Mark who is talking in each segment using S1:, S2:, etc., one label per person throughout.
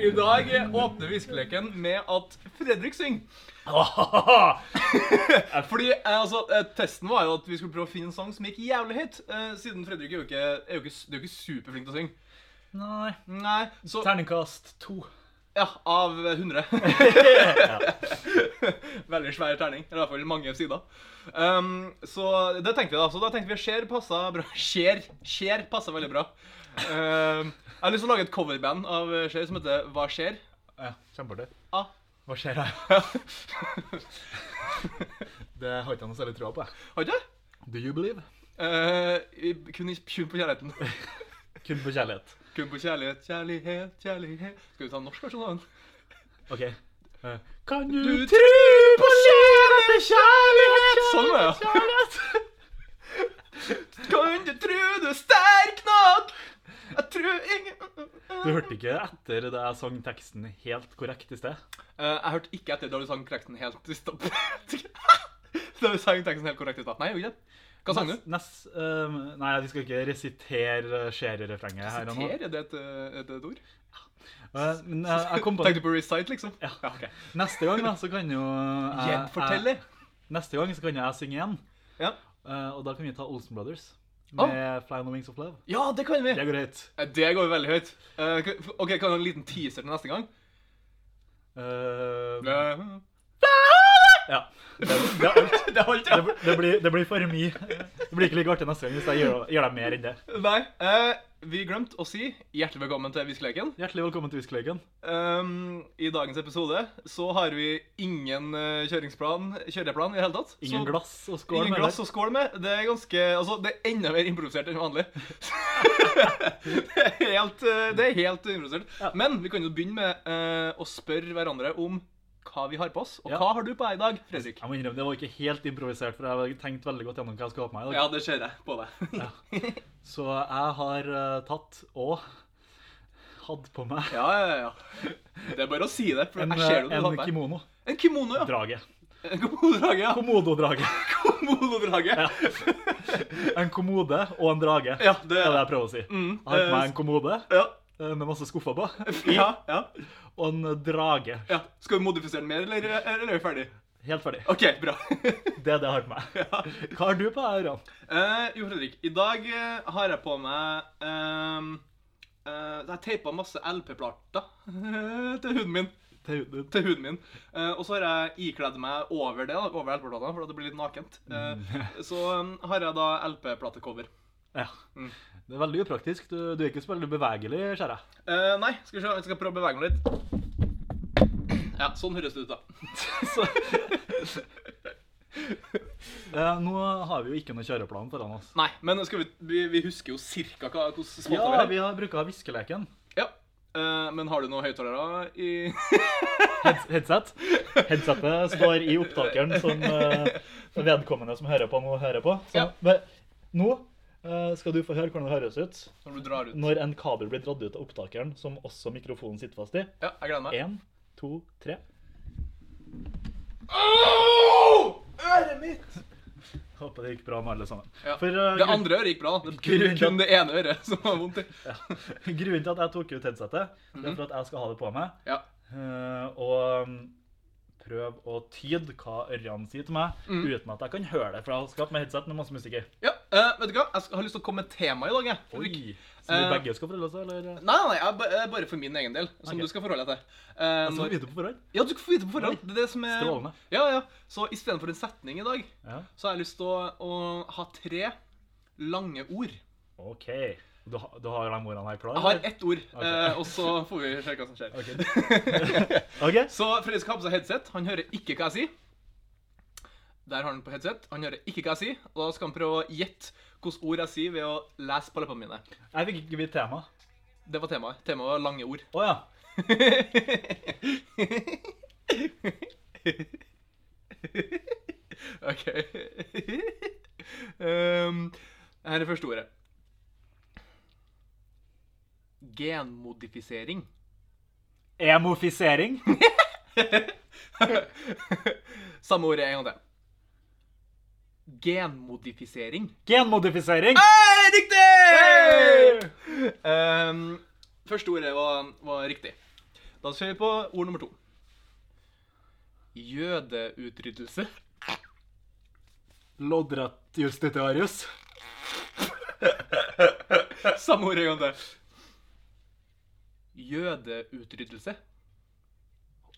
S1: I dag åpner viskeleken med at Fredrik synger. Fordi eh, altså, eh, Testen var jo at vi skulle prøve å finne en sang som gikk jævlig høyt. eh, Siden Fredrik er jo ikke, er jo ikke, s- det er jo ikke superflink til å synge.
S2: Nei.
S1: Nei, så
S2: Terningkast to.
S1: Ja, av 100. Veldig svær terning. Eller i hvert fall mange sider. Um, så det tenkte vi da. Så da tenkte vi Skjer passa bra. Skjer. Skjer passa veldig bra. Um, jeg har lyst til å lage et coverband av Skjer som heter Hva skjer?
S2: Ja, Kjempeartig.
S1: Ah.
S2: Hva skjer her?
S1: har
S2: Det har ikke jeg noe særlig trua på. jeg.
S1: ikke det?
S2: Do you believe?
S1: Uh, i- kun, i- kun på kjærligheten.
S2: Kun på kjærlighet.
S1: Kun på kjærlighet, kjærlighet, kjærlighet Skal vi ta en norsk versjon av den?
S2: OK. Kan du,
S1: Du
S2: tro på skjer etter kjærlighet?
S1: Sånn, ja. Kan du tru du er sterk nok? Jeg tru ingen
S2: Du hørte ikke etter da jeg sang teksten helt korrekt i sted?
S1: Eh, jeg hørte ikke etter da du sang teksten helt i stad. da du sang teksten helt korrekt i stad. Nei, jeg gjorde ikke det. Hva sang du?
S2: Nest, nest, ehm, nei, vi skal ikke resitere Skjer-refrenget her og nå.
S1: Siter, er det et, eh, et, et ord?
S2: Eh, Men jeg, jeg kom på
S1: Tenkte du på recite, liksom?
S2: Ja.
S1: ok.
S2: Neste gang da, så kan jo jeg-
S1: Gjenforteller.
S2: jeg- Neste gang så kan jeg synge igjen.
S1: Ja.
S2: Eh, og da kan vi ta Olsen Brothers
S1: Ah.
S2: med Fly on the Wings of Love.
S1: ja, det kan vi.
S2: Det går høyt.
S1: Eh, Det går veldig høyt. Eh, k- OK, kan du ha en liten teaser til neste gang?
S2: Eh,
S1: Eh,
S2: ja. Det, det, er alt.
S1: Det holdt,
S2: det,
S1: ja.
S2: blir- det, blir, det blir for mye. Det blir ikke like artig neste gang hvis jeg gjør, gjør deg mer enn det.
S1: Nei. eh, vi glemte å si hjertelig velkommen til Viskeleken.
S2: Hjertelig velkommen til Whiskeleken.
S1: Um, I dagens episode så har vi ingen eh, kjøringsplan, kjøreplan i det hele tatt.
S2: Ingen
S1: så,
S2: glass og skål.
S1: Ingen
S2: med
S1: glass
S2: det.
S1: og skål med. Det er ganske, altså det er enda mer improvisert enn vanlig. det, er helt, eh, det er helt improvisert.
S2: Ja.
S1: Men vi kan jo begynne med eh, å spørre hverandre om hva vi har på oss. Og
S2: Ja.
S1: hva har du på deg i dag, Fredrik?
S2: Jeg må innrømme, Det var ikke helt improvisert, for jeg har tenkt veldig godt gjennom hva jeg skal ha på meg. i dag.
S1: Ja, det ser jeg på deg.
S2: Ja. Så jeg har eh, tatt og hatt på meg
S1: ja, ja, ja. Det er bare å si det. for
S2: en, eh,
S1: jeg ser det du har på
S2: en
S1: deg.
S2: kimono.
S1: En kimono, ja.
S2: Drage.
S1: En komododrage, ja.
S2: Komododrage.
S1: Komododrage.
S2: Ja. En kommode og en drage.
S1: Ja,
S2: Det
S1: det
S2: er det jeg prøver å si.
S1: Mm,
S2: Jeg har på
S1: eh,
S2: meg en kommode
S1: ja.
S2: eh, med masse skuffer på,
S1: Ja, ja,
S2: og en drage.
S1: ja. Skal vi modifisere den mer, eller, eller er vi ferdig?
S2: Helt ferdig.
S1: OK, bra.
S2: Det er det jeg har på meg.
S1: ja.
S2: Hva har du på deg, Ørjan?
S1: Eh, jo, Fredrik, i dag eh, har jeg på meg um, Jeg teipa masse LP-plater til huden min.
S2: Til huden din.
S1: Til huden min. Eh, og så har jeg ikledd meg over det, da, over LP-platene, for at det blir litt nakent. Eh, så um, har jeg da LP-platecover.
S2: Ja.
S1: Mm.
S2: Det er veldig upraktisk. Du, du er ikke så veldig bevegelig, ser jeg.
S1: Eh, nei, skal vi se, jeg skal prøve å bevege meg litt. Ja, sånn høres det ut, da. så,
S2: Eh, Nå har vi jo ikke noe kjøreplan foran oss.
S1: nei, men skal vi, vi, vi husker jo cirka hva, hvordan spotta
S2: Ja,
S1: vi
S2: vi
S1: har.
S2: har bruka viskeleken.
S1: Ja. Eh, men har du noen høyttalere i
S2: Heads- Headset. Headsetet står i opptakeren som eh, vedkommende som hører på nå, hører på. Så
S1: Ja.
S2: ve- nå eh, skal du få høre hvordan det høres ut
S1: når du drar ut?
S2: når en kabel blir dratt ut av opptakeren, som også mikrofonen sitter fast i.
S1: Ja, jeg gleder meg.
S2: Én, to, tre.
S1: Au! Øret mitt!
S2: Håper det gikk bra med alle sammen.
S1: Ja.
S2: For eh,
S1: Det andre øret gikk bra. da. Det er kun,
S2: Grunnen til-
S1: kun det ene øret som var vondt. i.
S2: grunn- grunnen til at jeg tok ut headsetet, det er for at jeg skal ha det på meg.
S1: Ja.
S2: eh, og mm, prøve å tyde hva Ørjan sier til meg,
S1: Mm.
S2: uten at jeg kan høre det. For jeg har skapt med headset med masse musikk i.
S1: ja. eh, vet du hva? Jeg sk- har lyst til å komme med tema i dag. jeg.
S2: Oi!
S1: Fredrik.
S2: Så vi
S1: Eh,
S2: begge skal forholde oss, eller?
S1: Nei, nei, jeg, ba- eh, bare for min egen del, som
S2: Ok.
S1: du skal forholde deg til. Eh,
S2: Altså,
S1: når-
S2: vite på forhånd.
S1: Ja, du får vite på forhånd. Det er det som er...
S2: Strålende.
S1: Ja, ja. Så istedenfor en setning i dag,
S2: Ja.
S1: så har jeg lyst til å, å ha tre lange ord.
S2: OK. Du, har- du har de ordene her klare?
S1: Jeg har ett ord,
S2: Ok.
S1: eh, og så får vi se hva som skjer.
S2: OK.
S1: Så Fredrik skal ha på seg headset. Han hører ikke hva jeg sier. Der har han på headset. Han hører ikke hva jeg sier, og da skal han prøve å gjette hvilke ord jeg sier ved å lese på leppene mine.
S2: Jeg fikk ikke vite tema.
S1: Det var temaet. Temaet var lange ord.
S2: Å ja.
S1: OK. Ehm, her er første ordet. Genmodifisering.
S2: Emofisering.
S1: Samme ordet en gang til. Genmodifisering.
S2: Genmodifisering.
S1: Hei, riktig!
S2: Hey!
S1: Ehm, første ordet var, var riktig. Da ser vi på ord nummer to. Jødeutryddelse.
S2: Lodrett justitiarius.
S1: Samme ord en gang til. Jødeutryddelse.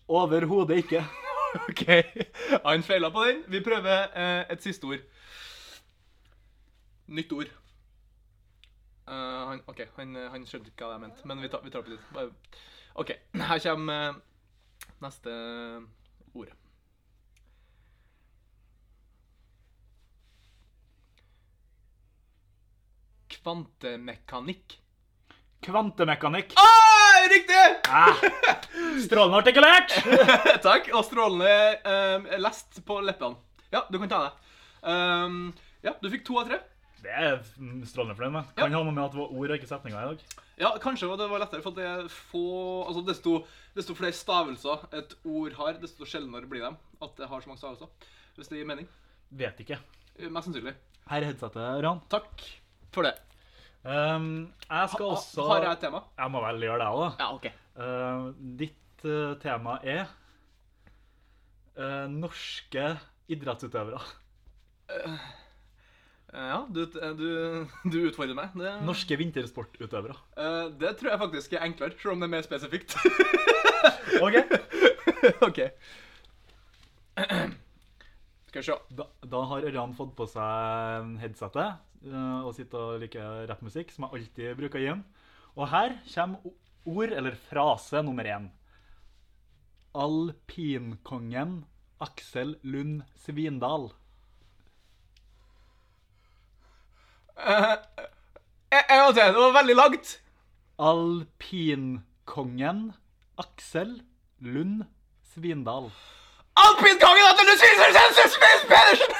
S2: Overhodet ikke.
S1: OK. Han feila på den. Vi prøver eh, et siste ord. Nytt ord. Eh, han, OK, han, eh, han skjønte ikke hva jeg mente, men vi, tar- vi tar på litt. Bare- OK, her kommer eh, neste ord. Kvantemekanikk.
S2: Kvantemekanikk.
S1: Ah, riktig!
S2: Ah, strålende artikulert!
S1: Takk, og strålende ehm, lest på leppene. Ja, du kan ta det. Ehm, ja, du fikk to av tre.
S2: Det er jeg mm, strålende fornøyd med. Kan ha noe med at det var ord og ikke setninger i dag.
S1: Ja, kanskje var det var lettere, for det er få Altså, desto, desto flere stavelser et ord har, desto sjeldnere blir de at det har så mange stavelser. Hvis det gir mening.
S2: Vet ikke.
S1: Eh, Mest sannsynlig.
S2: Her er headsetet, Ran.
S1: Takk for det.
S2: Um, jeg
S1: Ha-
S2: skal også
S1: Har jeg et tema? Eh,
S2: Jeg må vel gjøre det, jeg òg, da.
S1: Ja, OK.
S2: Uh, ditt uh, tema er uh, norske idrettsutøvere.
S1: Eh, Ja, du, du, du utfordrer meg. Det,
S2: Norske vintersportutøvere.
S1: eh, det tror jeg faktisk er enklere, selv om det er mer spesifikt.
S2: OK.
S1: OK. Skal vi se.
S2: Da, da har Ørjan fått på seg headsetet eh, og sitter og liker rappmusikk, som jeg alltid bruker å gi ham. Og her kommer o- ord, eller frase, nummer én. Alpinkongen Aksel Lund Svindal.
S1: Eh, En en gang til. Det var veldig langt.
S2: Alpinkongen Aksel Lund Svindal.
S1: Alpinkongen Atle Lucius Pedersen!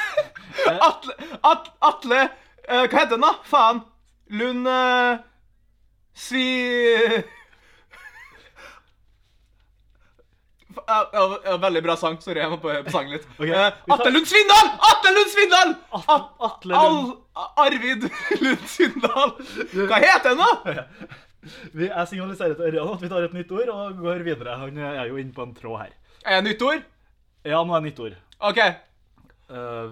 S1: Atle At, Atle eh, Hva heter den, da? Faen. Lund eh, Svi... Fa- ja, ja, ja, veldig bra sang. Sorry, jeg må på, på sangen litt.
S2: Ok,
S1: Eh,
S2: vi tar-
S1: Atle Lund Svindal! Atle Lund Svindal!
S2: At-
S1: At-
S2: Atle Lund.
S1: Al, Arvid Lund Svindal. Hva heter den, da?
S2: Vi, jeg signaliserer til Ørjan at vi tar et nytt ord og går videre. Han er jo inne på en tråd her.
S1: Er det nytt ord?
S2: Ja, nå er nytt ord.
S1: OK.
S2: eh,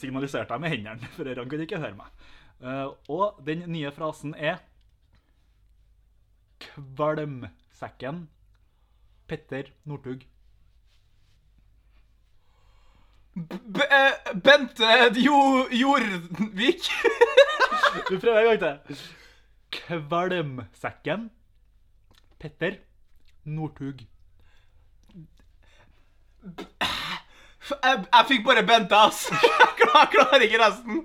S2: signaliserte jeg med hendene, for han kunne ikke høre meg. Eh, og den nye frasen er Kvalmsekken Petter Northug.
S1: B eh, Bente jo Jorvik.
S2: Vi prøver en gang til. Kvalmsekken Petter Northug.
S1: F- Jeg, jeg fikk bare Bente, ass. Jeg klarer, klarer ikke resten.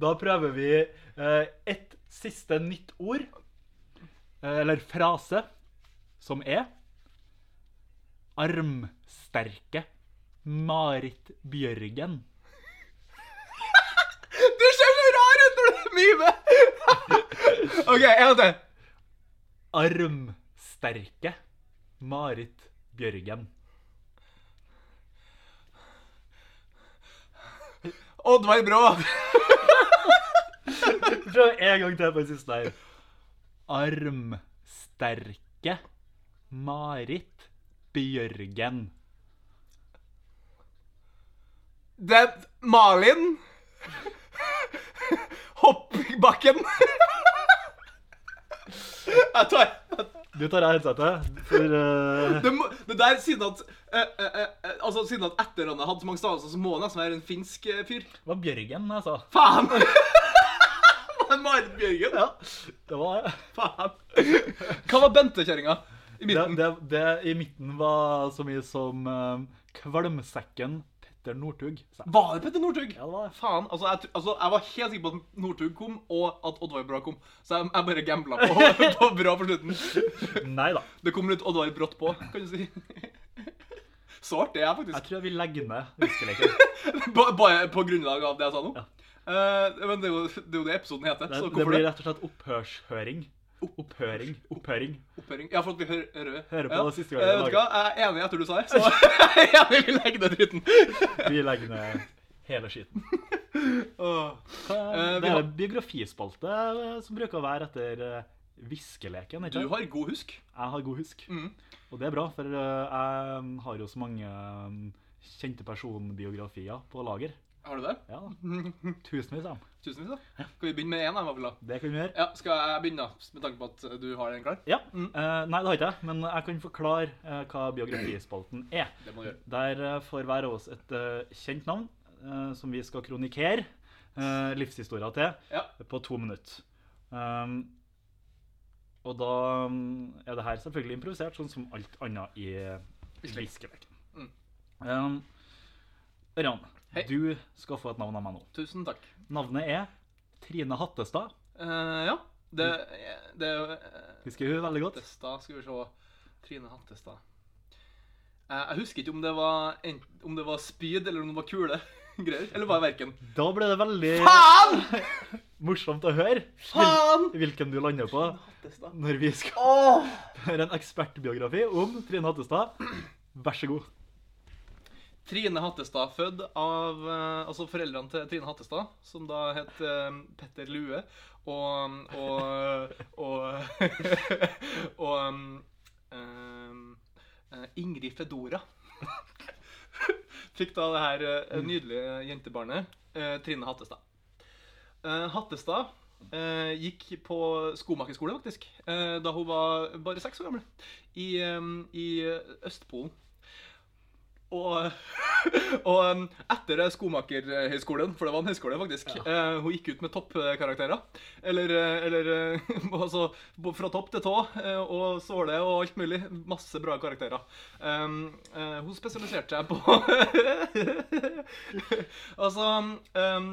S2: Da prøver vi eh, et siste nytt ord, eh, eller frase, som er Armsterke Marit Bjørgen.
S1: Du ser så rar ut når du mimer. OK, en gang til.
S2: Armsterke Marit Bjørgen.
S1: Oddvar Brå.
S2: Prøv en gang til på den siste her. Armsterke Marit Bjørgen.
S1: Det er Malin. Hoppbakken. Jeg tar
S2: Du tar av headsetet, for eh,
S1: det, må, det der, siden at eh, eh, eh, Altså, siden at etternavnet hadde så mange stavelser, så må det nesten være en finsk eh, fyr.
S2: det var Bjørgen altså. jeg sa.
S1: Faen! Marit Bjørgen.
S2: Ja, det var det.
S1: Faen. Hva var Bente-kjerringa i
S2: Det,
S1: midten?
S2: det, det i midten var så mye som eh, Kvalmsekken Petter Northug. sa jeg.
S1: Var det Petter Northug?
S2: Ja, det var det.
S1: Faen. Altså jeg, tr- altså, jeg var helt sikker på at Northug kom, og at Oddvar Brå kom. Så jeg, jeg bare gambla på, på Brå på slutten.
S2: Nei da.
S1: Det kom litt Oddvar brått på, kan du si. Så artig er jeg
S2: Jeg
S1: faktisk.
S2: tror jeg vil legge ned huskeleken.
S1: Ba- Bare på grunnlag av det jeg sa nå.
S2: Ja.
S1: Eh, men det er, jo, det er jo det episoden heter.
S2: Det,
S1: så
S2: det
S1: hvorfor
S2: blir
S1: det?
S2: rett og slett opphørshøring. Opphøring. Opphøring.
S1: Opphøring. Ja, for at vi hører, hører.
S2: Hører på
S1: ja.
S2: det siste gangen i
S1: Eh, Vet du hva,
S2: dag.
S1: jeg er enig etter du sa det, så jeg er enig vi legger ned dritten.
S2: Vi legger ned hele skiten.
S1: Åh.
S2: Hva
S1: Eh, vi
S2: er- Det er
S1: har-
S2: en biografispalte eh, som bruker å være etter eh, hviskeleken.
S1: Du
S2: ikke sant?
S1: har god husk.
S2: Jeg har god husk.
S1: Mm.
S2: Og det er bra, for eh, jeg har jo så mange eh, kjente personbiografier på lager.
S1: Har du det?
S2: Ja, da. Tusenvis av dem.
S1: Tusenvis, da. Skal vi begynne med én? da, i hvert fall, da?
S2: Det kan vi gjøre.
S1: Ja, skal jeg begynne, da? Med tanke på at eh, du har en klar?
S2: Ja.
S1: Eh, Mm.
S2: eh, nei, det har ikke jeg, men jeg kan forklare eh, hva biografispalten er.
S1: Det må du gjøre.
S2: Der eh, får hver av oss et eh, kjent navn eh, som vi skal kronikere uh, livshistoria til
S1: Ja.
S2: på to minutter. Um, og da mm, er det her selvfølgelig improvisert, sånn som alt annet i hviskeleken.
S1: Mm.
S2: Um, Ørjan,
S1: Hei.
S2: du skal få et navn av meg nå.
S1: Tusen takk.
S2: Navnet er Trine Hattestad.
S1: Eh, ja. Det, det eh,
S2: Husker hun veldig godt?
S1: Hattestad, skal vi se. Trine Hattestad. Eh, Jeg husker ikke om det var, en- om det var spyd eller om det var kule. Greier. Eller var det verken?
S2: Da ble det veldig
S1: Faen!
S2: morsomt å høre hvil-
S1: Faen!
S2: hvilken du lander på
S1: Hattestad.
S2: når vi skal
S1: Åh!
S2: gjøre en ekspertbiografi om Trine Hattestad. Vær så god.
S1: Trine Hattestad, født av eh, altså foreldrene til Trine Hattestad, som da het eh, Petter Lue og og og, og eh, eh, Ingrid Fedora. Fikk da det her eh, nydelige jentebarnet eh, Trine Hattestad. Eh, Hattestad eh, gikk på skomakerskole, faktisk, eh, da hun var bare seks år gammel, i, eh, i Østpolen. Og, og um, etter skomakerhøyskolen, for det var en høyskole faktisk, eh, hun gikk ut med toppkarakterer. Eller, eh, eller eh, altså, bo- fra topp til tå, eh, og såle og alt mulig. Masse bra karakterer. Um, eh, hun spesialiserte seg på Altså um,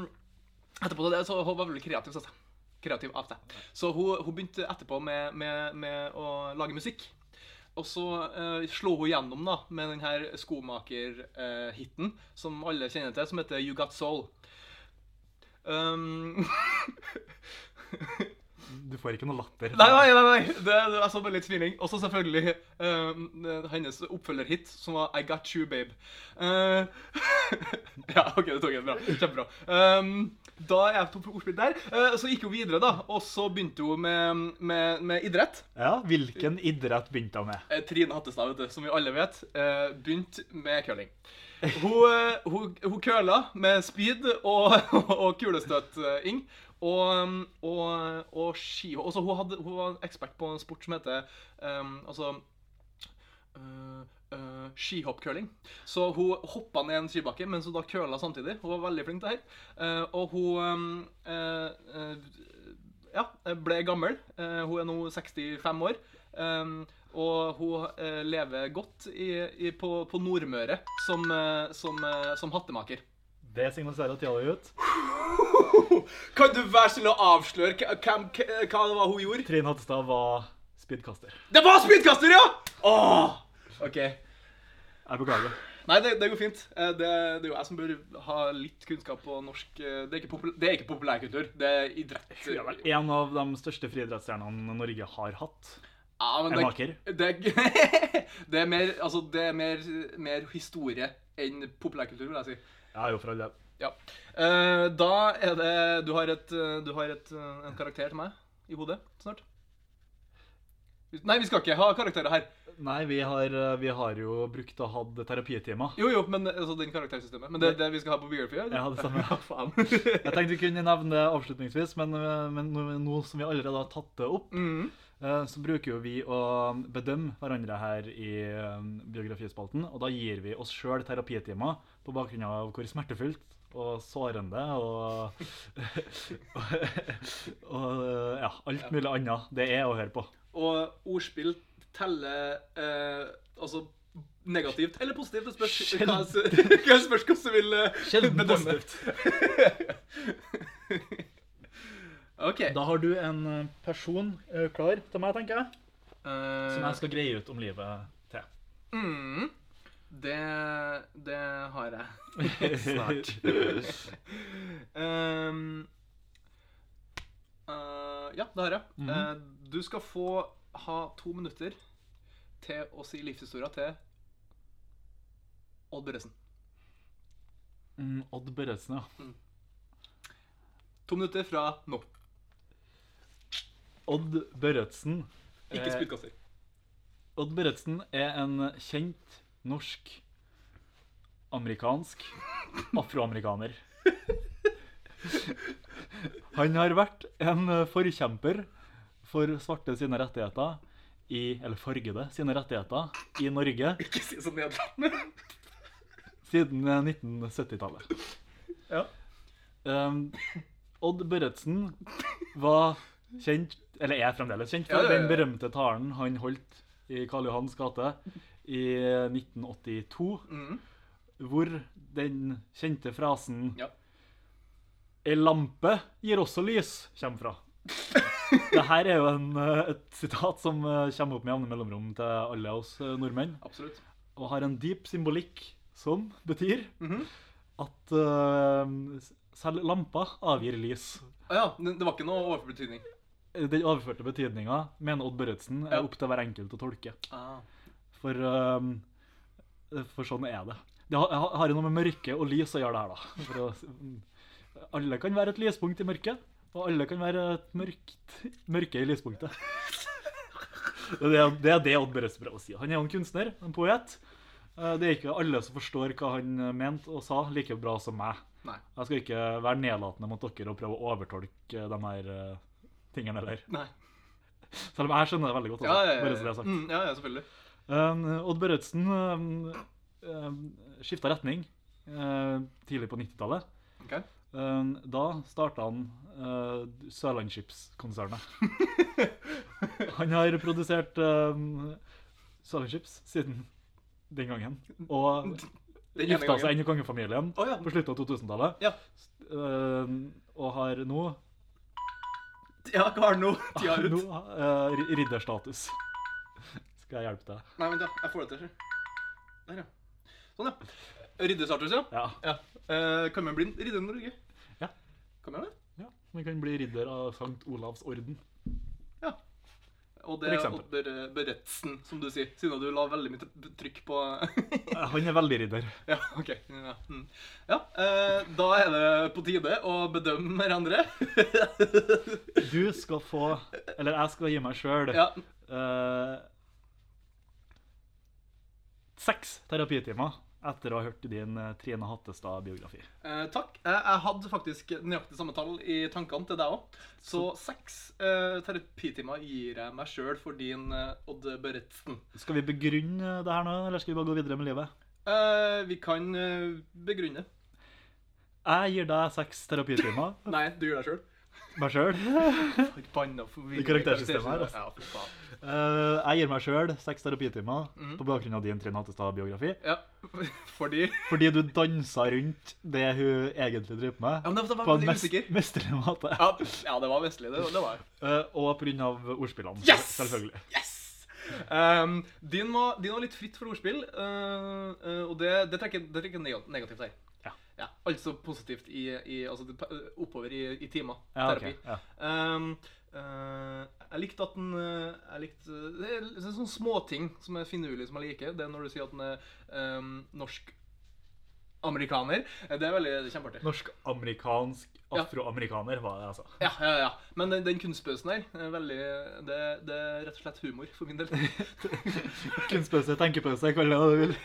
S1: Etterpå det, så hun var veldig kreativ, sa jeg. Kreativ av seg. Så hun, hun begynte etterpå med, med, med å lage musikk. Og så eh, slo hun gjennom da, med den her skomaker-hiten eh, som alle kjenner til, som heter You Got Soul. Um,
S2: Du får ikke noe latter.
S1: nei, nei, nei, nei. Det, det, jeg så bare litt smiling. Og så selvfølgelig eh, hennes oppfølgerhit, som var I Got You, Babe. Eh, ja, OK, det tok jeg. Bra. Kjempebra. Um, da er jeg på ordspill der. Eh, så gikk hun videre, da. Og så begynte hun med, med, med idrett.
S2: Ja, Hvilken idrett begynte hun med?
S1: Eh, Trine Hattestad, vet du, som vi alle vet, eh, begynte med curling. Hun, eh, hun, hun curla med speed og, og kulestøting. Og, og, og ski. Og så hun, hadde, hun var en ekspert på en sport som heter eh, altså, eh, eh, skihoppcurling. Så hun hoppa ned en skibakke mens hun da curla samtidig. Hun var veldig flink til det her. Eh, og hun eh, eh, ja, ble gammel. Eh, hun er nå 65 år. Eh, og hun eh, lever godt i, i, på, på Nordmøre som, eh, som, eh, som hattemaker.
S2: Det signaliserer tida di ut.
S1: Kan du være snill å avsløre hva, det var hun gjorde?
S2: Trine Hattestad var speedcaster.
S1: Det var spydkaster, ja! Åh! OK.
S2: Jeg beklager.
S1: Nei, det, det går fint. Eh, Det, det er jo jeg som bør ha litt kunnskap på norsk eh, Det er ikke, popul det er ikke populærkultur, det er idrett.
S2: Hun er vel en av de største friidrettsstjernene Norge har hatt.
S1: Ja, men
S2: En
S1: det,
S2: maker.
S1: det, det er mer, altså, det er mer, mer historie enn populærkultur, vil jeg si.
S2: Ja, jo, for all del.
S1: Ja. Eh, da er det Du har, et, eh, du har et, eh, en karakter til meg i hodet snart. Nei, vi skal ikke ha karakterer her.
S2: Nei, vi har, vi har jo brukt og hatt terapitimer.
S1: Jo, jo, men altså, den karaktersystemet. Men det er det vi skal ha på Biography? eller?
S2: Ja, det samme.
S1: Ja, faen.
S2: Jeg tenkte vi kunne nevne det avslutningsvis, men, men nå, nå som vi allerede har tatt det opp,
S1: Mhm.
S2: eh, så bruker jo vi å bedømme hverandre her i eh, biografispalten. Og da gir vi oss sjøl terapitimer på bakgrunn av hvor smertefullt og sårende og Og ja, alt mulig annet det er å høre på.
S1: Og ordspill teller eh, Altså negativt eller positivt. Det spørs
S2: Skjedd.
S1: hva hva- spørs hvordan du vil eh,
S2: Sjelden
S1: bedømme.
S2: positivt.
S1: OK.
S2: Da har du en eh, person eh, klar til meg, tenker jeg. Som
S1: Eh,
S2: jeg skal greie ut om livet til.
S1: mm, det, det har jeg.
S2: Snart.
S1: Ehm, eh, ja, det har jeg.
S2: Mhm.
S1: Eh, du skal få ha to minutter til å si livshistoria til Odd Børresen.
S2: Mm, Odd Børresen, ja.
S1: To minutter fra nå.
S2: Odd Børretzen.
S1: Ikke
S2: Eh,
S1: spyttkasser.
S2: Odd Børretzen er en kjent norsk amerikansk afroamerikaner. Han har vært en forkjemper for svarte sine rettigheter i, eller fargede sine rettigheter i Norge
S1: Ikke si så nedlatende.
S2: siden eh, 1970-tallet.
S1: Ja.
S2: Um, Odd Børretzen var kjent, eller er fremdeles kjent, for
S1: Ja, ja, ja.
S2: den berømte talen han holdt i Karl Johans gate i 1982,
S1: Mhm.
S2: hvor den kjente frasen
S1: Ja.
S2: «En lampe gir også lys» kommer fra. Dette er jo en, eh, et sitat som eh, kommer opp med jevne mellomrom til alle oss eh, nordmenn,
S1: Absolutt.
S2: og har en dyp symbolikk som betyr
S1: Mhm.
S2: at eh, selv lampa avgir lys.
S1: Å ja, det, det var ikke noe overbetydning.
S2: Den overførte betydninga mener Odd Børretzen
S1: Ja.
S2: er opp til hver enkelt å tolke.
S1: Ah.
S2: For, eh, for sånn er det. Det har, har- har jo noe med mørke og lys å gjøre, det her, da. For å, s- mm. alle kan være et lyspunkt i mørket, og alle kan være et mørkt mørke i lyspunktet. Og Det er det, er det Odd Børretzen prøver å si. Han er jo en kunstner, en poet. Eh, Det er ikke alle som forstår hva han eh, mente og sa, like bra som meg.
S1: Nei.
S2: Jeg skal ikke være nedlatende mot dere og prøve å overtolke de her eh, tingene heller.
S1: Nei.
S2: Selv om jeg skjønner det veldig godt.
S1: Ja,
S2: altså,
S1: ja, ja,
S2: bare så
S1: ja.
S2: det er sagt.
S1: Mm, ja, ja selvfølgelig.
S2: Eh, Odd Børretzen uh, skifta retning eh, tidlig på 90-tallet.
S1: Ok.
S2: Eh, da starta han uh, Sørlandschips-konsernet. han har produsert uh, Sørlandschips siden den gangen. Og
S1: Den ene
S2: gifta
S1: gangen.
S2: seg inn i kongefamilien
S1: Å ja.
S2: på slutten av 2000-tallet.
S1: Ja.
S2: Eh, og har nå
S1: ja, hva har du nå? Tida er
S2: Nå,
S1: ut.
S2: eh, ri- ridderstatus. Skal jeg hjelpe deg?
S1: Nei, vent, da. Jeg får det til. sjø. Der, ja. Sånn, ja. Riddestartus, ja.
S2: Ja.
S1: Ja. Eh, kan man bli en ridder i Norge?
S2: Ja.
S1: Kan man det?
S2: ja. Man kan bli ridder av Sankt Olavs orden.
S1: Og
S2: For
S1: det er
S2: eksempel.
S1: Odd Bør- Børretzen, som du sier, siden du la veldig mye tr- trykk på
S2: Eh, Han er veldig ridder.
S1: Ja, OK. Ja, mm. ja eh, da er det på tide å bedømme hverandre.
S2: Du skal få Eller jeg skal gi meg eh, sjøl
S1: ja.
S2: seks terapitimer etter å ha hørt din eh, Trine Hattestad-biografi.
S1: eh, takk. Eh, jeg hadde faktisk nøyaktig samme tall i tankene til deg òg. Så seks eh, terapitimer gir jeg meg sjøl for din eh, Odd Børretzen.
S2: Skal vi begrunne det her nå, eller skal vi bare gå videre med livet?
S1: Eh, vi kan eh, begrunne.
S2: Jeg gir deg seks terapitimer.
S1: Nei, du gjør deg sjøl.
S2: Meg sjøl.
S1: Forbanna forvirring.
S2: Det karaktersystemet her, altså.
S1: Ja, for faen.
S2: Eh, jeg gir meg sjøl seks terapitimer
S1: Mhm.
S2: på bakgrunn av din Trine Hattestad-biografi.
S1: Ja, fordi
S2: Fordi du dansa rundt det hun egentlig driver med,
S1: Ja, men det var
S2: på en
S1: veldig
S2: mest-
S1: usikker.
S2: mesterlig måte.
S1: Ja, ja, det var vestlig, det, det var jeg.
S2: Eh, og pga. ordspillene,
S1: Yes!
S2: selvfølgelig.
S1: Yes! Um, din, var, din var litt fritt for ordspill, eh, eh, og det, det trekker, det trekker neg- negativt her.
S2: Ja.
S1: altså positivt i, i altså, det- oppover i, i timer.
S2: Ja, ok,
S1: terapi.
S2: ja.
S1: Um, eh, jeg likte at den eh, jeg likte, Det er litt sånne småting som er finurlig, som jeg liker. Det er når du sier at den er ehm, norsk-amerikaner. Eh, Det er veldig det er kjempeartig.
S2: Norsk-amerikansk
S1: Ja.
S2: afroamerikaner var det, altså.
S1: Ja, ja, ja. Men den, den kunstpausen her, er veldig, det, det er rett og slett humor for min del.
S2: Kunstpause, tenkepause, kall det hva du vil.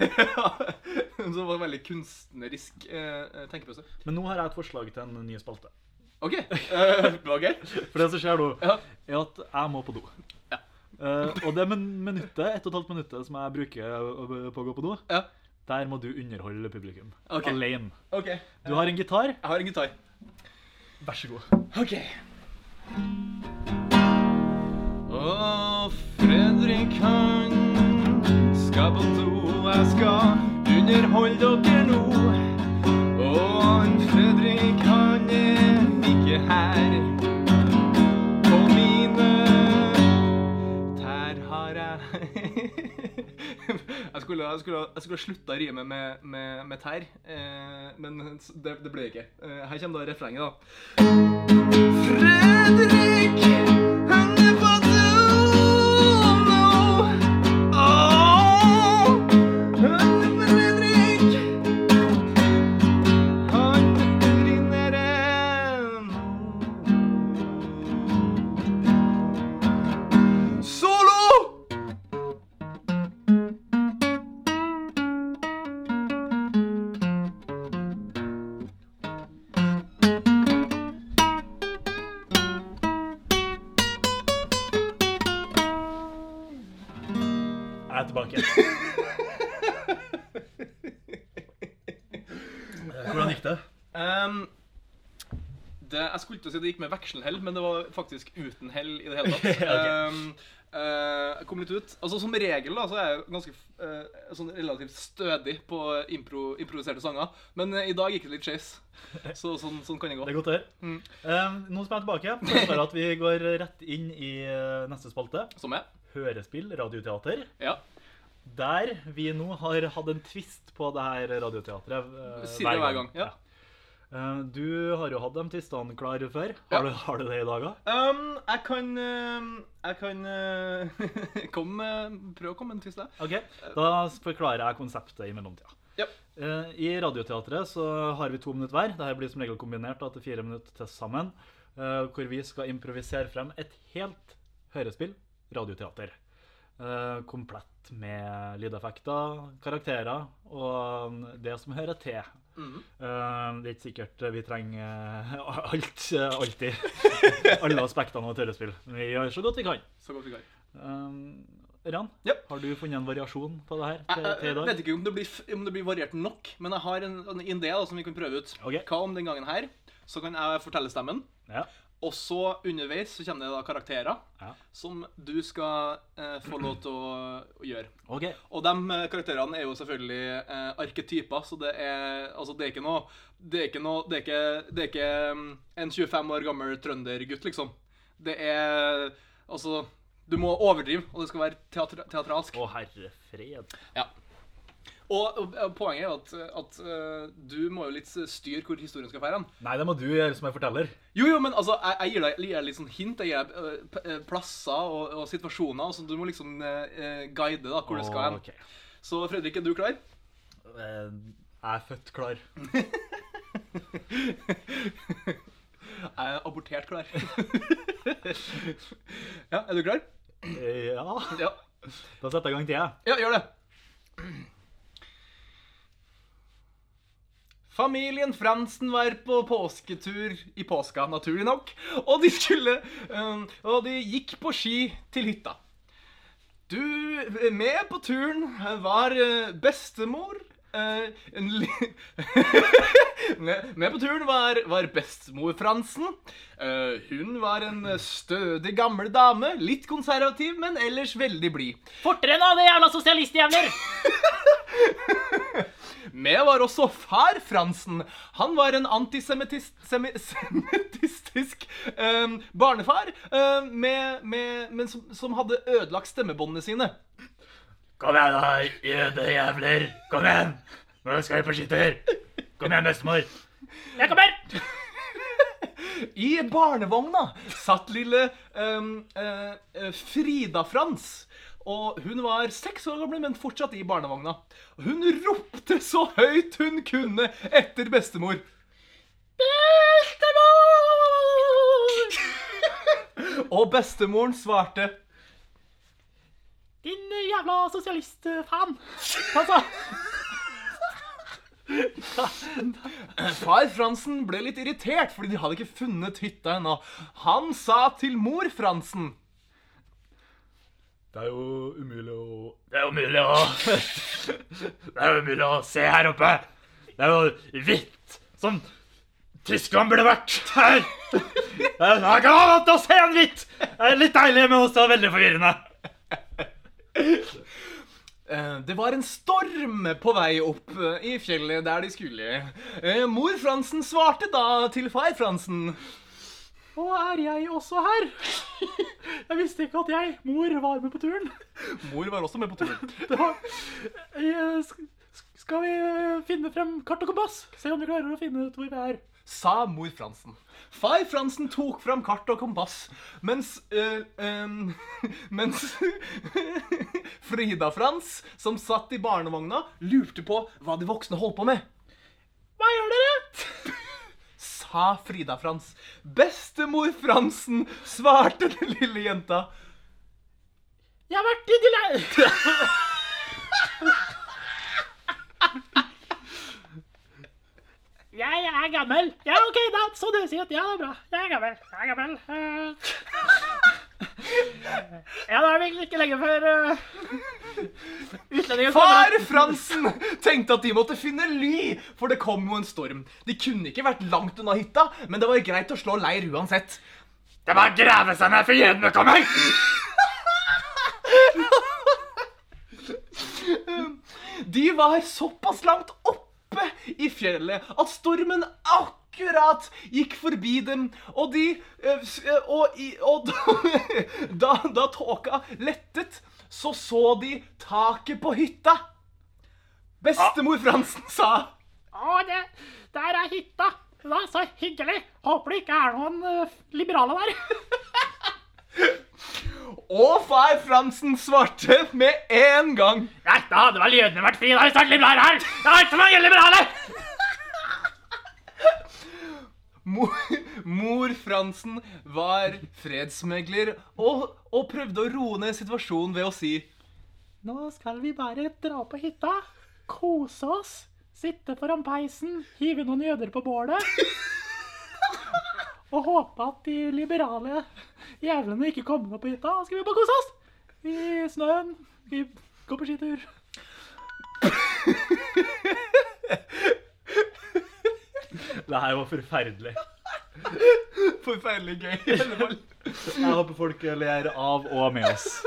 S1: Så det var en veldig kunstnerisk eh, tenkepause.
S2: Men nå har jeg et forslag til en ny spalte.
S1: OK. eh, ok.
S2: For det som skjer nå,
S1: Ja.
S2: er at jeg må på do.
S1: Ja.
S2: Eh, og det min minuttet, ett og et halvt minuttet som jeg bruker å- på å gå på do,
S1: ja.
S2: der må du underholde publikum.
S1: Ok.
S2: Alene.
S1: OK.
S2: Du har en gitar.
S1: Jeg har en gitar.
S2: Vær så god.
S1: OK. Å, Fredrik, han skal på do, jeg skal underholde dere nå. Og han Fredrik, han er ikke her. På mine tær har jeg Jeg skulle, jeg skulle, jeg skulle ha slutta rimet med, med, med tær, eh, men det, det ble ikke. Eh, her kommer da refrenget, da. Fredrik, han er på do nå. Åh, han er Fredrik. Han brenner ennå. Solo!
S2: Jeg er tilbake. Hvordan gikk det?
S1: Ehm, det, jeg skulle til å si det gikk med vekselhell, men det var faktisk uten hell i det hele tatt.
S2: Ja, ok.
S1: Ehm, eh, jeg kom litt ut. Altså Som regel da, så er jeg jo ganske eh, sånn relativt stødig på impro, improviserte sanger, men eh, i dag gikk det litt skeis. Så sånn, sånn kan det gå.
S2: Det er godt å høre.
S1: Mm.
S2: Eh, nå som jeg er tilbake, foreslår jeg at vi går rett inn i eh, neste spalte.
S1: Som jeg.
S2: Hørespill, radioteater.
S1: Ja.
S2: Der vi nå har hatt en twist på det her radioteatret. eh,
S1: Sier det hver gang, ja.
S2: Eh, Du har jo hatt de twistene klare før.
S1: Ja.
S2: Har, du, har du det i dag òg?
S1: Ehm, jeg kan ehm, Jeg kan eh, kom, med- prøve å komme med en twist, jeg.
S2: Ok, Da forklarer jeg konseptet i mellomtida.
S1: Ja.
S2: Eh, I Radioteatret så har vi to minutter hver. Dette blir som regel kombinert da, til fire minutter til sammen. eh, Hvor vi skal improvisere frem et helt hørespill, radioteater. Eh, Komplett med lydeffekter, karakterer og det som hører til.
S1: Mhm.
S2: Eh, Det er ikke sikkert vi trenger eh, alt, eh, alltid. Alle aspektene av et hørespill. Men vi gjør så godt vi kan.
S1: Så godt vi kan.
S2: Um, Ran,
S1: Ja.
S2: har du funnet en variasjon på det her
S1: Jeg,
S2: til, til i
S1: jeg
S2: dag?
S1: vet ikke om det, blir, f- om det blir variert nok, men jeg har en, en idé da, som vi kan prøve ut.
S2: Ok.
S1: Hva om den gangen her? Så kan jeg fortelle stemmen.
S2: Ja.
S1: Og så underveis så kommer det da karakterer
S2: Ja.
S1: som du skal eh, få lov til å, å gjøre.
S2: OK.
S1: Og de eh, karakterene er jo selvfølgelig eh, arketyper, så det er altså det er ikke noe Det er ikke noe Det er ikke, det er ikke mm, en 25 år gammel trøndergutt, liksom. Det er Altså, du må overdrive, og det skal være teatra teatralsk.
S2: Å, herre fred.
S1: Og, og, og poenget er jo at, at eh, du må jo litt styre hvor historien skal fære hen.
S2: Nei, det må du gjøre som jeg forteller.
S1: Jo, jo, men altså, jeg, jeg gir deg jeg gir deg litt sånn hint. Jeg gir deg eh, p- eh, plasser og, og situasjoner. Så du må liksom eh, eh, guide da, hvor det skal hen.
S2: Ok.
S1: Så Fredrik, er du klar?
S2: Eh, Jeg er født klar.
S1: Jeg er abortert klar. ja, er du klar?
S2: Eh, Ja.
S1: Ja.
S2: Da setter jeg i gang tida.
S1: Ja, gjør det. Familien Fransen var på påsketur i påska, naturlig nok, og de skulle eh, Og de gikk på ski til hytta. Du Med på turen var eh, bestemor eh, en li Med med på turen var, var bestemor Fransen. Eh, hun var en stødig gammel dame. Litt konservativ, men ellers veldig blid.
S3: Fortere nå, det jævla sosialistjævler!
S1: Med var også far Fransen. Han var en antisemittistisk barnefar eh, med, med, men som, som hadde ødelagt stemmebåndene sine.
S2: Kom igjen, da, jødejævler. Kom igjen. Nå skal vi på skitur. Kom igjen, bestemor.
S3: Jeg kommer!
S1: I barnevogna satt lille ehm, eh, eh, Frida Frans. Og hun var seks år gammel, men fortsatt i barnevogna. Og Hun ropte så høyt hun kunne etter bestemor. Bestemor! Og bestemoren svarte
S3: Din eh, jævla sosialistfan. Altså,
S1: Far Fransen ble litt irritert, fordi de hadde ikke funnet hytta ennå. Han sa til mor Fransen
S2: Det er jo umulig å Det er umulig å Det er jo umulig å se her oppe. Det er jo hvitt som Tyskland burde vært her. Jeg kan ha lov til å se en hvitt. Det er litt deilig, men også veldig forvirrende.
S1: Eh, Det var en storm på vei opp eh, i fjellet der de skulle. Eh, Mor Fransen svarte da til far Fransen.
S4: Å, er jeg også her? Jeg visste ikke at jeg, mor, var med på turen.
S1: Mor var også med på turen.
S4: Det var, jeg, sk- sk- skal vi eh, finne frem kart og kompass? Se om vi klarer å finne ut hvor vi er.
S1: sa mor Fransen. Far Fransen tok fram kart og kompass, mens øh, øhm, Mens Frida Frans, som satt i barnevogna, lurte på hva de voksne holdt på med. Hva gjør dere? sa Frida Frans. Bestemor Fransen svarte den lille jenta.
S3: Jeg har vært i dile... Jeg er gammel. Ja, OK, da. Så du sier at ja, det er bra. Jeg er gammel. Jeg er gammel. Eh, Ja, da er vi ikke lenge før uh, utlendingen
S1: Far
S3: kommer.
S1: Fransen tenkte at de måtte finne ly, for det kom jo en storm. De kunne ikke vært langt unna hytta, men det var greit å slå leir uansett. Det var grave seg ned fiendene kommer! De var såpass langt oppe i fjellet at stormen akkurat gikk forbi dem, og de eh, s- eh, Og, i, og da, da, da tåka lettet, så så de taket på hytta. Bestemor Fransen sa
S3: Å, det, der er hytta. Da, så hyggelig. Håper det ikke er noen eh, liberale der.
S1: Og far Fransen svarte med en gang.
S3: Nei, da hadde vel jødene vært fri. Da hadde vi snart liberale her. Det er ikke noen liberale!
S1: Mor, mor Fransen var fredsmegler og, og prøvde å roe ned situasjonen ved å si
S3: Nå skal vi bare dra på hytta, kose oss, sitte foran peisen, hive noen jøder på bålet. Og håpe at de liberale jævlene ikke kommer opp på hytta. Da skal vi bare kose oss! I snøen. Vi går på skitur.
S2: Det her var forferdelig.
S1: Forferdelig gøy. i alle fall.
S2: Jeg håper folk ler av og med oss.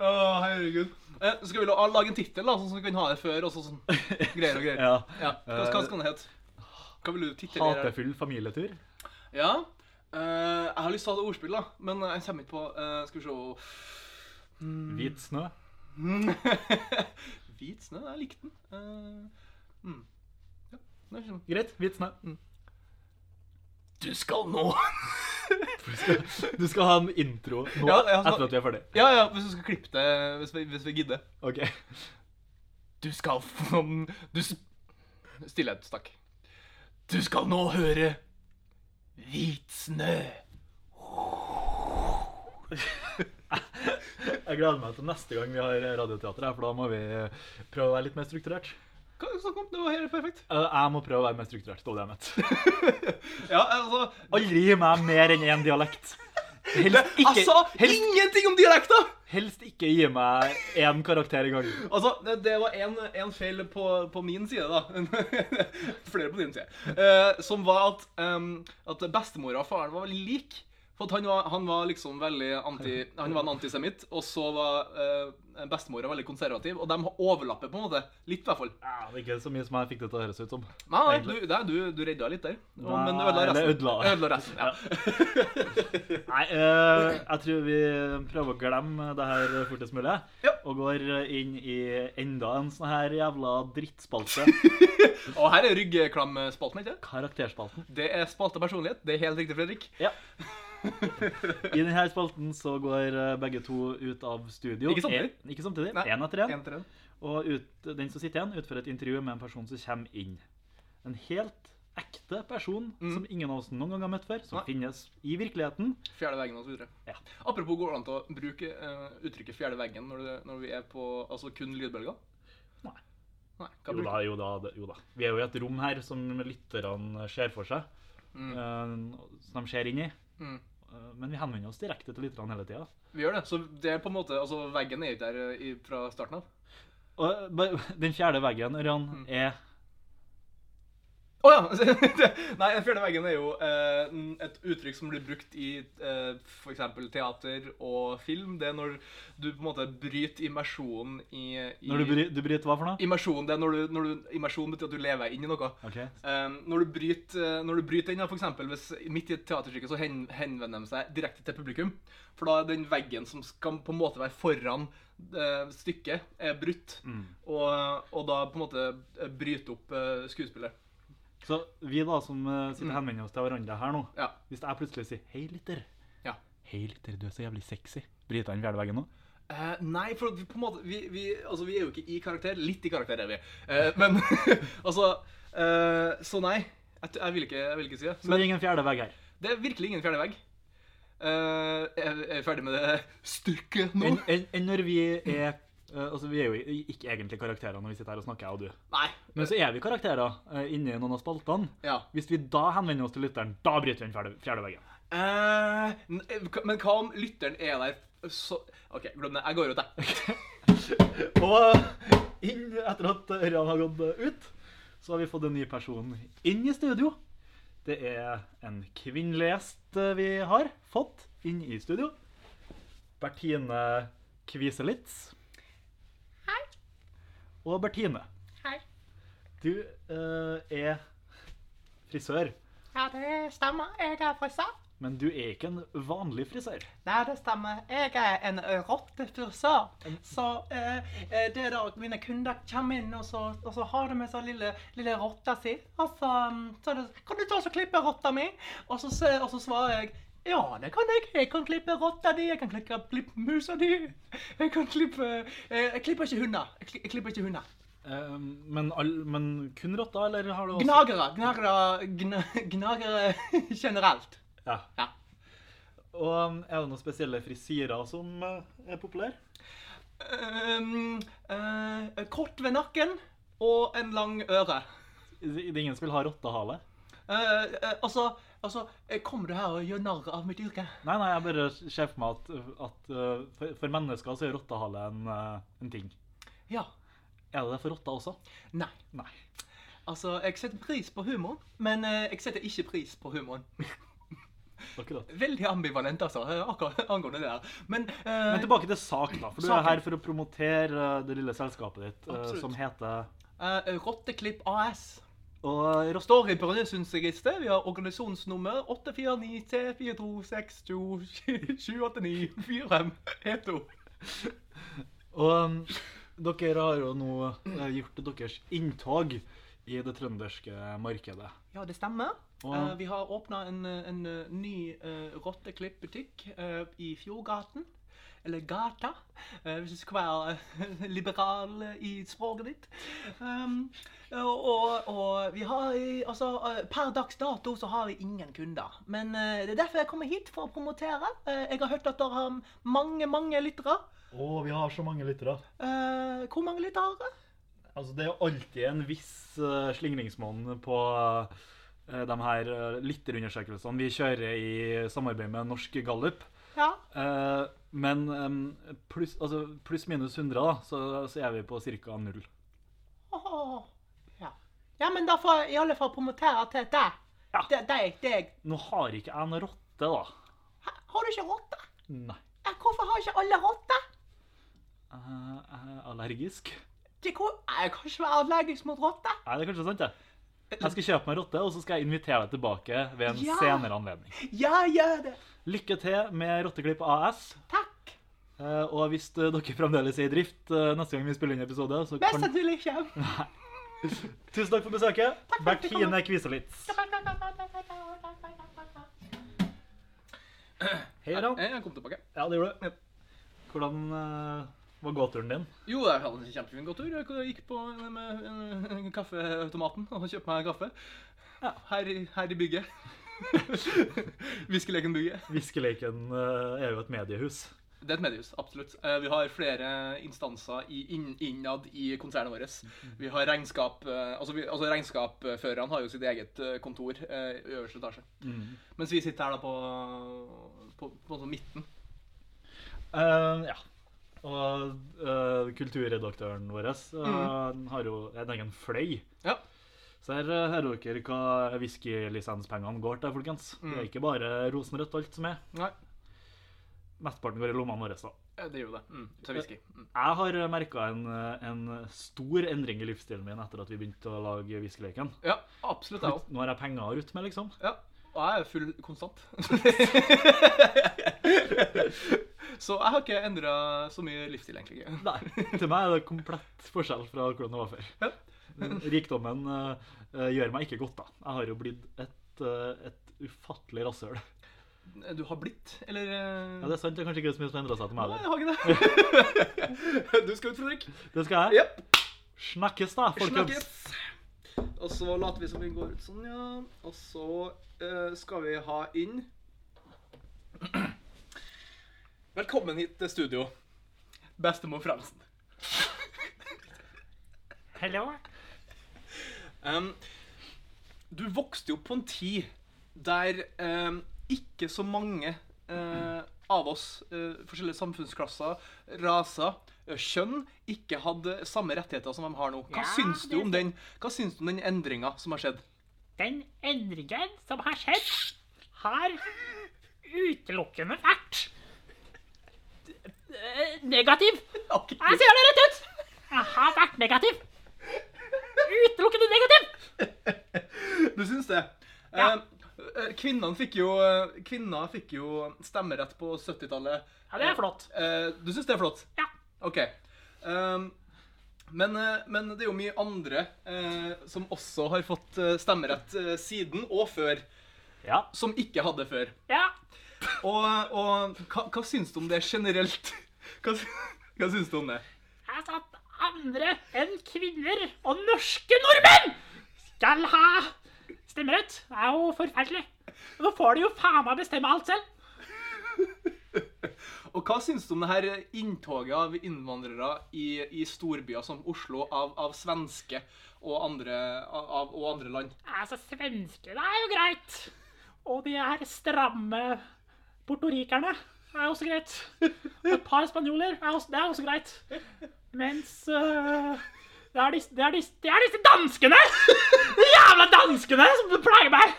S1: Å, herregud. Eh, skal vi la, lage en tittel, da, sånn som vi kan ha det før? og så- sånn greier og greier.
S2: Ja.
S1: Ja. Hva, hva skal den hete? Hva vil du titulere?
S2: Hatefull familietur.
S1: Ja. eh, jeg har lyst til å ha det ordspill, da, men jeg kommer ikke på eh, Skal vi se
S2: Hvit snø.
S1: Hvit snø? Jeg likte den. Eh, mm. Ja, det er sånn.
S2: Greit, hvit snø.
S1: Du skal nå
S2: Du skal ha en intro nå
S1: Ja, ja, så-
S2: etter at vi er ferdig.
S1: Ja, ja, hvis du skal klippe det, hvis vi, hvis vi gidder.
S2: Ok.
S1: Du skal få Du s- Stillhet, takk. Du skal nå høre Hvit snø.
S2: Jeg gleder meg til neste gang vi har radioteater, her, for da må vi prøve å være litt mer strukturert.
S1: Hva er det du snakker om? Det var helt perfekt.
S2: Eh, Jeg må prøve å være mer strukturert. Det var det jeg mente.
S1: Ja, altså
S2: Aldri gi meg mer enn én dialekt. Helst
S1: Jeg
S2: ikke,
S1: sa ingenting om dialekter!
S2: helst ikke gi meg én karakter i gangen.
S1: Altså, det, det var en, en feil på, på min side, da. Flere på din side. Eh, som var at, um, at bestemora og faren var veldig lik. For at han var, han var liksom veldig anti, Han var en antisemitt, og så var eh, bestemora veldig konservativ. Og de overlapper på en måte. Litt, i hvert fall.
S2: Ja, det er ikke så mye som jeg fikk det til å høres ut som.
S1: Nei, nei, du, nei, du, du redda litt der. Og- men du ødela resten.
S2: Nei, det ødela.
S1: resten, ja.
S2: Nei, eh, jeg tror vi prøver å glemme det her fortest mulig.
S1: Ja.
S2: Og går inn i enda en sånn her jævla drittspalte.
S1: Og her er ryggklamspalten, ikke sant?
S2: Karakterspalten.
S1: Det er spalte personlighet. Det er helt riktig, Fredrik.
S2: I denne spalten så går eh, begge to ut av studio.
S1: Ikke samtidig.
S2: En, ikke samtidig.
S1: Nei.
S2: En etter en.
S1: En til en.
S2: Og ut, den som sitter igjen, utfører et intervju med en person som kommer inn. En helt ekte person som ingen av oss noen gang har møtt før, som
S1: Mm. Nei.
S2: finnes i virkeligheten.
S1: Fjerde veggen og så videre.
S2: Ja.
S1: Apropos, går det an til å bruke eh, uttrykket 'fjerde veggen' når, det, når vi er på altså kun lydbølger?
S2: Nei.
S1: Nei, hva
S2: Jo
S1: bruker
S2: da, jo da, det- jo da. Vi er jo i et rom her som lytterne ser for seg, eh, som de ser inn i.
S1: Mm.
S2: Eh, Men vi henvender oss direkte til lytterne hele tida.
S1: Vi gjør det. Så det er på en måte, altså veggen er jo ikke der eh, i, fra starten av.
S2: Mm. Og eh, bare- den fjerde veggen, Ørjan, er
S1: Å ja! Nei, den fjerde veggen er jo eh, n- et uttrykk som blir brukt i eh, f.eks. teater og film. Det er når du på en måte bryter immersjonen i, i
S2: Når du, bry, du bryter hva for noe?
S1: Immersjon det er når du, når du, immersjon betyr at du lever inn i noe.
S2: Ok.
S1: Um, når, du bryter, eh, når du bryter inn, da, for eksempel, hvis midt i et teaterstykke, så hen, henvender de seg direkte til publikum. For da er den veggen som skal på en måte være foran eh, stykket, er brutt. Og, og da på en måte eh, bryter opp eh, skuespillet.
S2: Så vi da som eh, sitter og henvender oss til hverandre her nå,
S1: Ja.
S2: hvis jeg plutselig sier 'hei, lytter',
S1: ja.
S2: Hei, lytter, du er så jævlig sexy. Bryter han fjerdeveggen nå?
S1: Eh, nei, for at vi, på en måte, vi, vi, altså, vi er jo ikke i karakter. Litt i karakter er vi. Eh, men altså eh, Så nei. Jeg, t- jeg, vil ikke, jeg vil ikke si det.
S2: Så det er ingen fjerdevegg her.
S1: Det er virkelig ingen fjerde vegg. Eh, er, er vi ferdig med det stykket nå?
S2: Enn enn- enn når vi er eh, Altså, vi er jo i- ikke egentlig karakterer når vi sitter her og snakker, jeg og du.
S1: Nei.
S2: Men så er vi karakterer eh, inni noen av spaltene.
S1: Ja.
S2: Hvis vi da henvender oss til lytteren, da bryter vi den fjerde- fjerde veggen.
S1: Eh, n- hva- men hva om lytteren er der så OK, glem det. Jeg går ut, jeg.
S2: Og inn etter at Ørjan har gått eh, ut, så har vi fått en ny person inn i studio. Det er en kvinnelig gjest vi har fått inn i studio. Bertine Kviselitz.
S5: Hei.
S2: Og Bertine,
S5: Hei.
S2: du eh, er frisør,
S5: Ja, det stemmer. Jeg er frisør.
S2: men du er ikke en vanlig frisør.
S5: Nei, det stemmer. Jeg er en ø, rottefrisør. Så eh, eh, det er da mine kunder kommer inn, og så, og så har de med seg lille, lille rotta si. Og så, mm, så er det, kan du ta og så klippe rotta mi? Og så, se- og så svarer jeg ja, det kan jeg. Jeg kan klippe rotta di, jeg kan klippe, klippe musa di. Jeg kan klippe eh, Jeg klipper ikke hunder. Jeg, kli- jeg klipper ikke hunder.
S2: Eh, men, all, men kun rotta, eller har du også
S5: Gnagere. Gnagere, gna, gnagere generelt.
S2: Ja.
S5: Ja.
S2: Og um, er det noen spesielle frisyrer som eh, er populære?
S1: Um, eh, kort ved nakken og en lang øre.
S2: Det det er ingen som vil ha rottehale?
S1: Eh, eh, altså, altså eh, Kommer du her og gjør narr av mitt yrke?
S2: Nei, nei, jeg bare ser for meg at, at eh, for, for mennesker så er rottehale en, eh, en ting.
S1: Ja.
S2: Er det det for rotter også?
S1: Nei.
S2: Nei.
S1: Altså, jeg setter pris på humoren, men eh, jeg setter ikke pris på humoren.
S2: Akkurat.
S1: Veldig ambivalent, altså, eh, akkurat angående det her. Men, eh,
S2: Men tilbake til sak, da. For du
S1: Saken.
S2: er her for å promotere eh, det lille selskapet ditt eh,
S1: Absolutt.
S2: som heter
S1: eh, Rotteklipp AS.
S2: Og eh, rost...
S1: Står i Brønnøysundsregisteret. Vi har organisasjonsnummer 849-342-62-789-4512.
S2: Og um, dere har jo nå eh, gjort deres inntog i det trønderske markedet.
S1: Ja, det stemmer.
S2: Og-
S1: Eh, vi har åpna en, eh, en eh, ny uh, rotteklippbutikk eh, i Fjordgaten. Eller Gata, eh, hvis du skal være eh, liberal i språket ditt. Um, og, og, og vi har i- altså eh, Per dags dato så har vi ingen kunder. Men eh, det er derfor jeg kommer hit, for å promotere. Eh, jeg har hørt at dere har mange, mange lyttere.
S2: Å, vi har så mange lyttere.
S1: Eh, hvor mange lyttere?
S2: Altså, det er jo alltid en viss eh, slingringsmonn på eh, de her eh, lytterundersøkelsene vi kjører i samarbeid med Norsk Gallup.
S5: Ja.
S2: Eh, men eh, pluss altså, pluss minus 100, da, så, så er vi på ca. null.
S5: Åh, Ja. ja, men da får jeg i alle fall promotere til deg.
S2: Ja.
S5: De- Deg, deg.
S2: Nå har ikke jeg noe rotte, da.
S5: Hæ, Har du ikke rotte?
S2: Nei.
S5: Eh, Hvorfor har ikke alle rotte?
S2: Eh, Jeg er allergisk.
S5: De ko- Eh, Jeg kan ikke være allergisk mot rotte.
S2: Nei, det er kanskje sant, det. Jeg skal kjøpe meg rotte, og så skal jeg invitere deg tilbake ved en
S5: Ja.
S2: senere anledning.
S5: Ja, gjør det.
S2: Lykke til med Rotteklipp AS.
S5: Takk.
S2: Eh, og hvis eh, dere fremdeles er i drift eh, neste gang vi spiller inn episode, så
S5: Mest
S2: kan
S5: sannsynlig ikke.
S2: Tusen takk for besøket.
S5: for at du kom.
S2: Bertine Kviselitz. Hei, Ran.
S1: Jeg kom tilbake.
S2: Ja, det gjorde du. Hvordan eh, var gåturen din?
S1: Jo, jeg hadde en kjempefin god tur. Jeg gikk på med eh, kaffeautomaten og kjøpte meg kaffe. Her, i- her i bygget. Viskeleken-bygget.
S2: Viskeleiken eh, er jo et mediehus.
S1: Det er et mediehus, absolutt. Eh, Vi har flere instanser i, inn, innad i konsernet vårt.
S2: Mhm.
S1: Vi har regnskap, eh, altså, vi, altså Regnskapførerne har jo sitt eget eh, kontor eh, i øverste etasje.
S2: Mhm.
S1: Mens vi sitter her da på, på, på sånn midten.
S2: Eh, ja. Og Mm. eh, kulturredaktøren vår eh, har jo en egen fløy.
S1: Ja.
S2: Så Der eh, hører dere hva whiskylisenspengene går til, folkens. Det er ikke bare rosenrødt alt som er.
S1: Nei,
S2: Mesteparten går i lommene våre. da.
S1: eh, det gjør jo det. Mm. Så whisky. Mm.
S2: Jeg har merka en, eh, en stor endring i livsstilen min etter at vi begynte å lage whiskyleken.
S1: Ja, absolutt, jeg òg.
S2: Nå har jeg penger å rutte med, liksom.
S1: Ja. Og jeg er full konstant. så jeg har ikke endra så mye livsstil, egentlig.
S2: Nei, til meg er det komplett forskjell fra hvordan det var før. Rikdommen eh, eh, gjør meg ikke godt, da. Jeg har jo blitt et, eh, et ufattelig rasshøl.
S1: Du har blitt, eller eh,
S2: Ja, det er sant, det er kanskje ikke så mye som endrer seg til meg
S1: Nei,
S2: heller.
S1: jeg har ikke det. du skal ut, Fredrik.
S2: Det skal jeg.
S1: Jepp.
S2: Snakkes, da, folkens.
S1: Snakkes. Og så later vi som vi går ut sånn, ja. Og så eh, skal vi ha inn Velkommen hit til studio, bestemor Fransen.
S3: Hello.
S1: Em, du vokste jo opp på en tid der em, ikke så mange eh, av oss, eh, forskjellige samfunnsklasser, raser, eh, kjønn, ikke hadde samme rettigheter som de har nå. Hva
S3: Ja,
S1: syns du
S3: det-
S1: om den, hva syns du om den endringa som har skjedd?
S3: Den endringen som har skjedd, har utelukkende vært eh, negativ. Jeg sier det rett ut. Jeg har vært negativ. Utelukkende negativ.
S1: Du syns det?
S3: Ja.
S1: Eh, eh, Kvinnene fikk jo, eh, kvinner fikk jo stemmerett på 70-tallet.
S3: Ja, det er flott.
S1: Eh, Du syns det er flott?
S3: Ja.
S1: OK. Ehm, men, eh, men det er jo mye andre eh, som også har fått eh, stemmerett eh, siden og før,
S2: Ja.
S1: som ikke hadde før.
S3: Ja.
S1: Og, og hva, hva syns du om det generelt? Hva, sy- hva syns du om det?
S3: Jeg sa at andre enn kvinner og norske nordmenn skal ha stemmerett. Det er jo forferdelig. Og Nå får de jo faen meg bestemme alt selv.
S1: Og hva syns du om det her inntoget av innvandrere i, i storbyer som Oslo, av, av svenske og andre, av, og andre land?
S3: Altså, svenskene er jo greit. Og de er stramme portorikerne. er også greit. Og et par spanjoler. Er også, det er også greit. Mens øh, det, er disse, det, er disse, det er disse danskene! De jævla danskene som plager meg!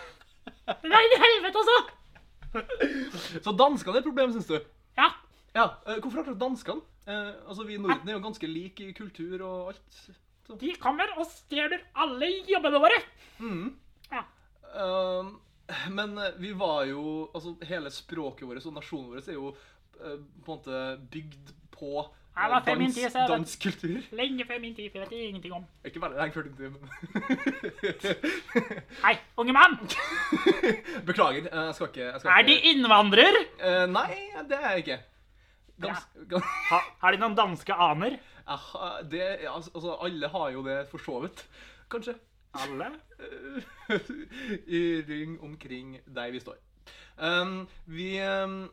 S3: Det er i helvete altså! også!
S1: Så danskene er et problem, syns du?
S3: Ja.
S1: Ja, eh, Hvorfor akkurat danskene? Eh, altså, Vi i Norden er jo ganske like i kultur og alt. Så.
S3: De kommer og stjeler alle jobbene våre. Ja.
S1: Ehm, men eh, vi var jo Altså, hele språket vårt og nasjonen vår er jo eh, på en måte bygd på eh,
S3: Ja, det var før min tid, så jeg vet-
S1: dansk kultur.
S3: Lenge før min tid, for jeg vet ingenting om.
S1: Ikke veldig lenge før din tid,
S3: Hei, unge mann!
S1: men Beklager, eh, jeg skal ikke jeg skal
S3: Er de
S1: ikke-
S3: innvandrer?
S1: Eh, nei, det er jeg ikke. Gans, gans,
S3: Ha, har de noen danske aner?
S1: jeg har- det, ja, altså, alle har jo det for så vidt, kanskje.
S3: Alle?
S1: I ring omkring der vi står. Um, vi, um,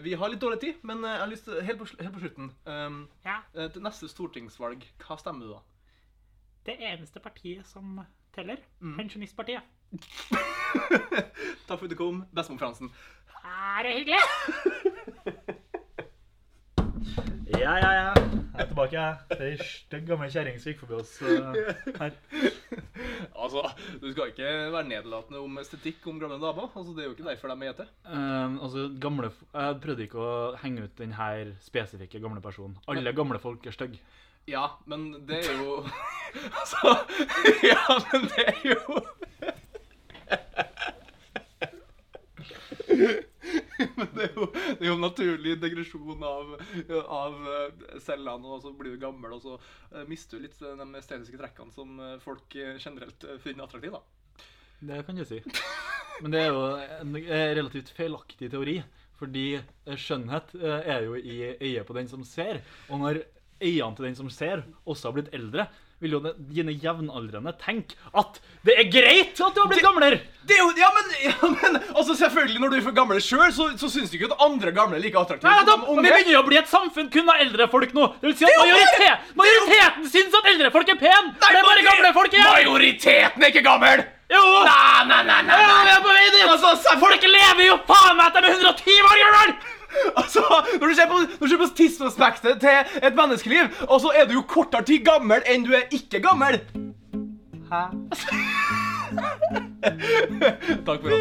S1: vi har litt dårlig tid, men eh, jeg har lyst til, helt, på, sl- helt på slutten um,
S3: Ja.
S1: eh, Til neste stortingsvalg, hva stemmer du da?
S3: det eneste partiet som teller.
S1: Mm.
S3: Pensjonistpartiet.
S1: Takk for at du kom, bestemor Fransen.
S3: Er Ah, det hyggelig?
S2: Ja, ja, ja. Jeg er tilbake, jeg. Det er ei stygg gammel kjerring som gikk forbi oss eh, her.
S1: Altså, Du skal ikke være nedlatende om estetikk om gamle damer. Altså, Det er jo ikke derfor de er gjete.
S2: Ehm, altså, gamle, f- jeg prøvde ikke å henge ut den her spesifikke gamle personen. Alle gamle folk er stygge.
S1: Ja, men det er jo Altså Ja, men det er jo Men det er jo, det er jo en naturlig degresjon av, av eh, cellene, og så blir du gammel, og så eh, mister du litt eh, de estetiske trekkene som eh, folk eh, generelt eh, finner attraktive. da.
S2: Det kan du si. Men det er jo en eh, relativt feilaktig teori. Fordi eh, skjønnhet eh, er jo i øyet på den som ser. Og når øynene til den som ser, også har blitt eldre, vil jo de- dine jevnaldrende tenke at det er greit at du har blitt gamler!
S1: Det er jo, ja, men, ja, men altså selvfølgelig, når du er for gamle sjøl, så, så syns du ikke at andre gamle er like attraktive
S2: Nei, da,
S1: som de
S2: og vi
S1: unge.
S2: begynner jo å bli et samfunn kun av eldre folk nå. Det vil si at majoritet, majoriteten syns at eldre folk er pen. Det er bare gamle folk igjen.
S1: Majoriteten er ikke gammel!
S2: Jo,
S1: Nei, nei, nei, nei,
S2: Ja, vi
S1: nei.
S2: er på vei dit.
S1: Altså, se- folk
S2: Folk lever jo faen meg til de er 110 år gamle!
S1: Altså, når du ser på, når du ser på tidsaspektet til et menneskeliv, og så er du jo kortere tid gammel enn du er ikke gammel.
S2: Hæ?
S1: Takk for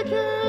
S1: at